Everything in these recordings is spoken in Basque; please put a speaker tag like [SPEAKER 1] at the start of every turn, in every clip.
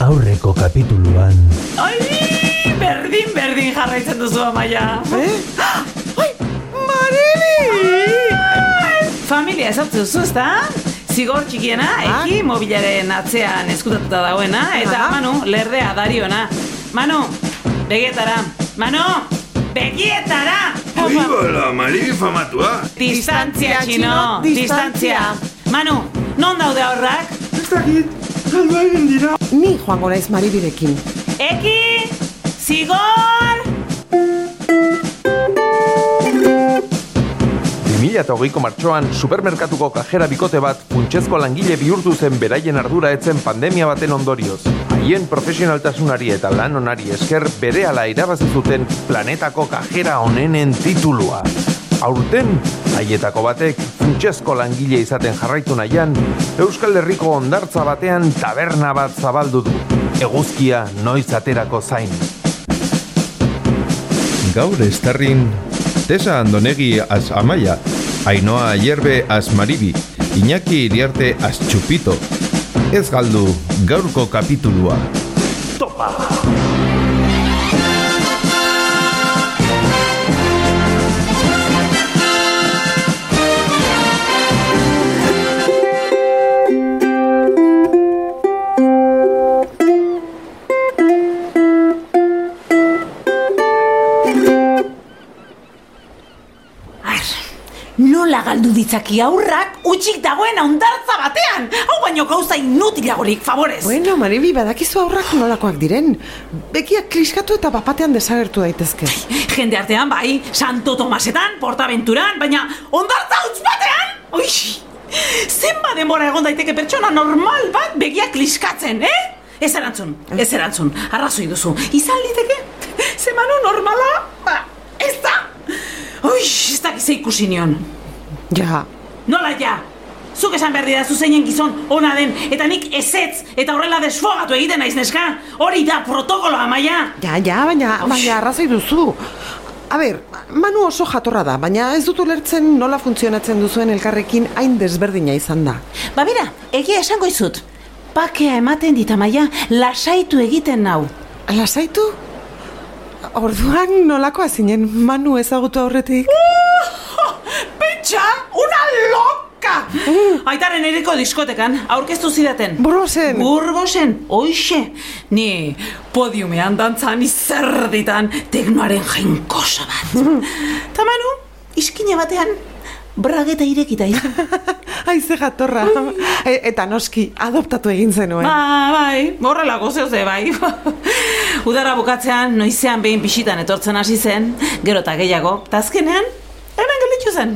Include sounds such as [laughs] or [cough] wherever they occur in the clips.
[SPEAKER 1] aurreko kapituluan.
[SPEAKER 2] Ai, berdin, berdin jarraitzen duzu, Amaia. Eh? Ai, Marili! Familia esartu duzu, ezta? Zigor txikiena,
[SPEAKER 3] Ah.
[SPEAKER 2] eki mobilaren atzean eskutatuta dagoena, eta
[SPEAKER 3] Aha.
[SPEAKER 2] Manu, lerdea dariona. Manu, begietara. Manu, begietara!
[SPEAKER 4] Oibala, Mari famatua.
[SPEAKER 2] Distantzia, txino,
[SPEAKER 3] distantzia.
[SPEAKER 2] distantzia. Manu, non daude horrak?
[SPEAKER 4] Ez dakit, galdu egin dira.
[SPEAKER 3] Ni joango naiz maribirekin.
[SPEAKER 2] Eki, zigor!
[SPEAKER 5] 2008ko martxoan supermerkatuko kajera bikote bat funtsezko langile bihurtu zen beraien ardura etzen pandemia baten ondorioz. Haien profesionaltasunari eta lan onari esker berehala irabazi zuten planetako kajera onenen titulua. Aurten, haietako batek funtsezko langile izaten jarraitu nahian, Euskal Herriko ondartza batean taberna bat zabaldu du. Eguzkia noiz aterako zain.
[SPEAKER 6] Gaur estarrin Tesa Andonegi az Amaia, Ainoa Hierbe az Maribi, Iñaki Iriarte az Txupito. Ez galdu gaurko kapitulua.
[SPEAKER 2] Ar, nola galdu ditzaki aurrak utxik dagoen ondartza batean! Hau baino gauza inutilagorik, favorez!
[SPEAKER 3] Bueno, maribi, badakizu aurrak nolakoak diren. Bekiak kriskatu eta bapatean desagertu daitezke.
[SPEAKER 2] Jende artean, bai, Santo Tomasetan, Portaventuran, baina ondartza utz batean! Uix! Zenba denbora egon daiteke pertsona normal bat begiak liskatzen, eh? Ez erantzun, ez erantzun, arrazoi duzu. Izan liteke, zemano normala, ba, ez da! Uix, ez da ikusi nion.
[SPEAKER 3] Ja,
[SPEAKER 2] Nola ja? Zuk esan behar dira zeinen gizon ona den, eta nik ezetz, eta horrela desfogatu egiten naiz neska. Hori da protokoloa, maia.
[SPEAKER 3] ja, ja, baina,
[SPEAKER 2] Aus.
[SPEAKER 3] baina arrazoi duzu. A ber, Manu oso jatorra da, baina ez dut ulertzen nola funtzionatzen duzuen elkarrekin hain desberdina izan da.
[SPEAKER 2] Ba bera, egia esango izut. Pakea ematen dit, maia, lasaitu egiten nau.
[SPEAKER 3] Lasaitu? Orduan nolakoa zinen Manu ezagutu aurretik? [laughs]
[SPEAKER 2] Pentsa, una loka! Aitaren eriko diskotekan, aurkeztu zidaten.
[SPEAKER 3] Burgosen.
[SPEAKER 2] Burgosen, oixe. Ni podiumean dantzan izerditan teknoaren jainkosa bat. Tamanu, iskine batean, brageta irekita izan.
[SPEAKER 3] Aize jatorra. E- eta noski, adoptatu egin zenuen.
[SPEAKER 2] Ba, bai, horrela gozeo ze, bai. [laughs] Udara bukatzean, noizean behin bisitan etortzen hasi zen, gero eta gehiago, eta azkenean, hemen gelitxu zen.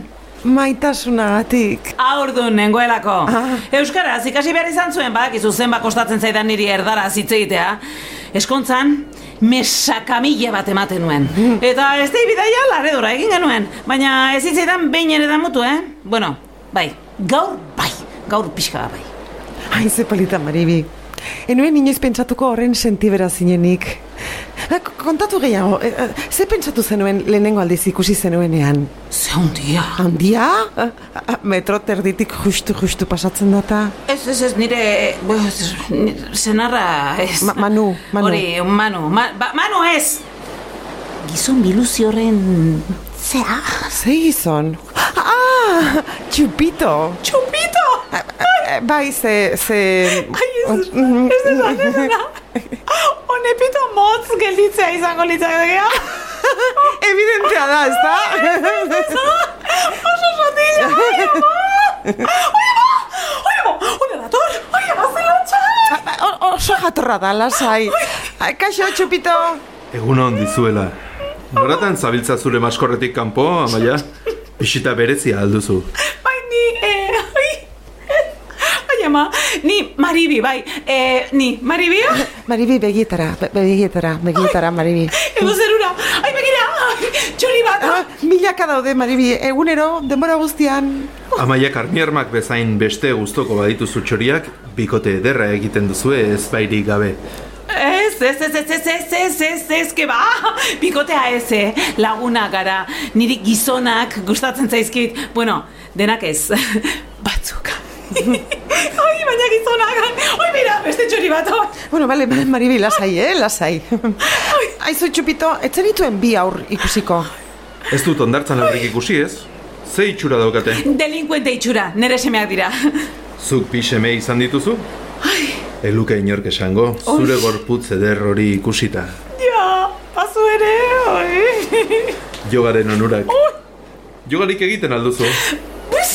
[SPEAKER 3] Maitasunagatik.
[SPEAKER 2] Aurdun nengoelako.
[SPEAKER 3] Ah.
[SPEAKER 2] Euskaraz ikasi behar izan zuen, badakizu zenba kostatzen zaidan niri erdara hitz egitea. Eskontzan, mesakamile bat ematen
[SPEAKER 3] [laughs]
[SPEAKER 2] nuen. Eta ez da bidaia laredora egin genuen, baina ez zitzaidan behin ere da mutu, eh? Bueno, bai, gaur bai, gaur pixka bat bai.
[SPEAKER 3] Aize palita maribi. Enuen inoiz pentsatuko horren sentibera zinenik. Ah, k- Kontatu gehiago, e, e, ze pentsatu zenuen lehenengo aldiz ikusi zenuenean?
[SPEAKER 2] Ze hundia.
[SPEAKER 3] Handia? Ah, ah, Metro terditik justu-justu pasatzen data?
[SPEAKER 2] Ez, ez, ez, nire, ez, nire senarra, ez.
[SPEAKER 3] Ma- Manu, Manu.
[SPEAKER 2] Hori, Manu, ma, ba, Manu ez! Gizon biluzi horren
[SPEAKER 3] [laughs]
[SPEAKER 2] zea.
[SPEAKER 3] Ze gizon? Ah! Txupito!
[SPEAKER 2] Txupito!
[SPEAKER 3] Ah, ah, Bai, ze... ze... Mm-hmm.
[SPEAKER 2] Ai, ez, Ah, ez esan, ez esan. Honepito motz gelditzea izango litzakea.
[SPEAKER 3] Evidentea da, ez
[SPEAKER 2] [laughs]
[SPEAKER 3] da?
[SPEAKER 2] Oso sotila, oia ba! Oia ba! Oia ba! Oia dator! Oia ba, zelotxa!
[SPEAKER 3] O- Oso jatorra da, lasai. Ai, Kaixo, txupito!
[SPEAKER 6] Egun on dizuela. Noratan zabiltza zure maskorretik kanpo, Amaia? Bisita berezia alduzu.
[SPEAKER 2] Bai, ni, eh, ai, ai, ama, ni maribi, bai, eh, ni maribi,
[SPEAKER 3] Maribi, begietara, be- begietara, begietara, Maribi.
[SPEAKER 2] edo zerura, ai, begira, ai, txori bat,
[SPEAKER 3] Ah, milaka daude, Maribi, egunero, denbora guztian.
[SPEAKER 6] Amaia karmiermak bezain beste guztoko badituzu txoriak, bikote ederra egiten duzue ez bairik gabe.
[SPEAKER 2] ez, ez, ez, ez, ez, ez, ez, ez, ez, que ba, [laughs] bikotea ez, eh, laguna gara, niri [laughs] gizonak gustatzen zaizkit, bueno, denak ez, batzuk. Oi, baina gizonagan. Oi, mira, beste txori bat. oi.
[SPEAKER 3] Bueno, bale, Maribi, lasai, eh, lasai. Aizu txupito, etzen dituen bi aur ikusiko.
[SPEAKER 5] Ez dut ondartzan aurrik ikusi ez? Ze itxura daukate?
[SPEAKER 2] Delinkuente itxura, nere semeak dira. [laughs]
[SPEAKER 6] Zuk pixeme izan dituzu? Eluke inork esango, zure gorputz eder hori ikusita.
[SPEAKER 2] ja, pasu ere, oi. [laughs]
[SPEAKER 6] Jogaren onurak. Jogarik egiten alduzu.
[SPEAKER 2] Bus,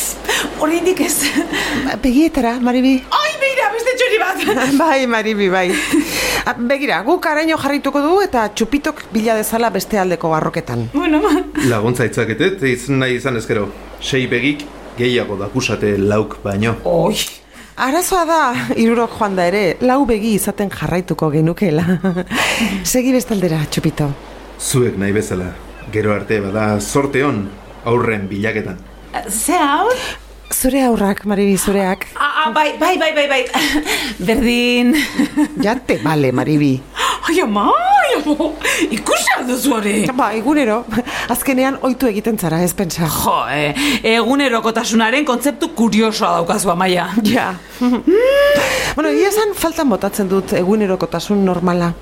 [SPEAKER 2] oraindik ez.
[SPEAKER 3] Ba, Begietara, Maribi.
[SPEAKER 2] Oi, mira, beste txori bat. [laughs]
[SPEAKER 3] Bai, Maribi, bai. Ah, Begira, guk araño jarrituko dugu eta txupitok bila dezala beste aldeko barroketan.
[SPEAKER 2] bueno,
[SPEAKER 6] Laguntza itzaketet, izan nahi izan ezkero. Sei begik gehiago dakusate lauk baino.
[SPEAKER 2] oi.
[SPEAKER 3] Arazoa da, irurok joan da ere, lau begi izaten jarraituko [laughs] genukela. Segi bestaldera, txupito.
[SPEAKER 6] Zuek nahi bezala. Gero arte bada sorte on aurren bilaketan.
[SPEAKER 2] Ze hau?
[SPEAKER 3] Zure aurrak, Maribi, zureak.
[SPEAKER 2] Ah, ah, bai, bai, bai, bai, bai. [laughs] Berdin. [laughs]
[SPEAKER 3] Jate, bale, Maribi.
[SPEAKER 2] Ai, ama, ai, ama. Ikusi aldu zuare.
[SPEAKER 3] Ba, egunero, azkenean oitu egiten zara, ez pentsa.
[SPEAKER 2] Jo, eh, egunerokotasunaren kontzeptu kuriosoa daukazu, Amaia.
[SPEAKER 3] Ja. bueno, egia esan faltan botatzen dut egunerokotasun normala.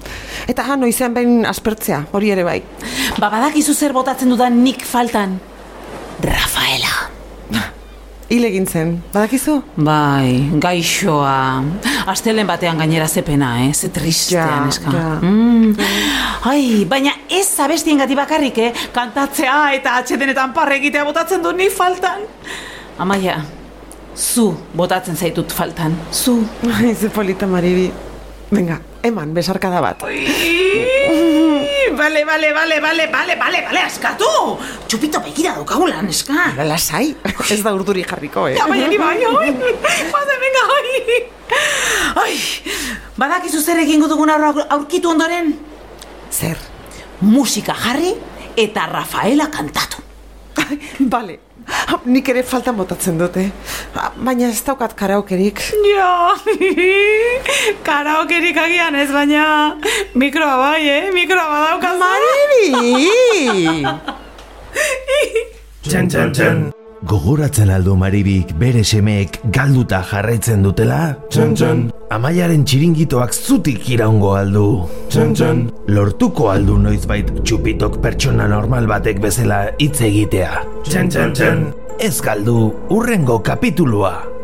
[SPEAKER 3] Eta ha, noizean behin aspertzea, hori ere bai.
[SPEAKER 2] Ba, badakizu zer botatzen dudan nik faltan. Rafaela.
[SPEAKER 3] Hil egin zen, badakizu?
[SPEAKER 2] Bai, gaixoa. Astelen batean gainera ze pena, eh? Ze tristean,
[SPEAKER 3] Ja,
[SPEAKER 2] eska.
[SPEAKER 3] ja.
[SPEAKER 2] Mm. Ai, baina ez abestien gati bakarrik, eh? Kantatzea eta atxedenetan parre egitea botatzen du ni faltan. Amaia, zu botatzen zaitut faltan. Zu.
[SPEAKER 3] Ai, ze polita maribi. Venga, eman, besarkada bat.
[SPEAKER 2] Ui, Bale, bale, bale, bale, bale, bale, bale, askatu! Txupito begira daukagulan, eska.
[SPEAKER 3] Lasai, ez da urduri jarriko, eh? [laughs]
[SPEAKER 2] Ja, baina ni baino, oi! Bazen, venga, oi! Oi! Badakizu zer egingo dugun aur- aurkitu ondoren?
[SPEAKER 3] Zer?
[SPEAKER 2] Musika jarri eta Rafaela kantatu.
[SPEAKER 3] Bale, nik ere faltan botatzen dute. Ah, Baina ez daukat karaokerik.
[SPEAKER 2] Ja, [laughs] karaokerik agian ez, baina mikroa bai, eh? Mikroa badaukazu. [laughs]
[SPEAKER 3] Maribi!
[SPEAKER 1] Txan, txan, txan. Gogoratzen aldu maribik bere semeek galduta jarraitzen dutela? Txan, txan. Amaiaren txiringitoak zutik iraungo aldu. Txan, txan. Lortuko aldu noizbait txupitok pertsona normal batek bezala hitz egitea. Txan, txan, txan. Ez galdu urrengo kapitulua.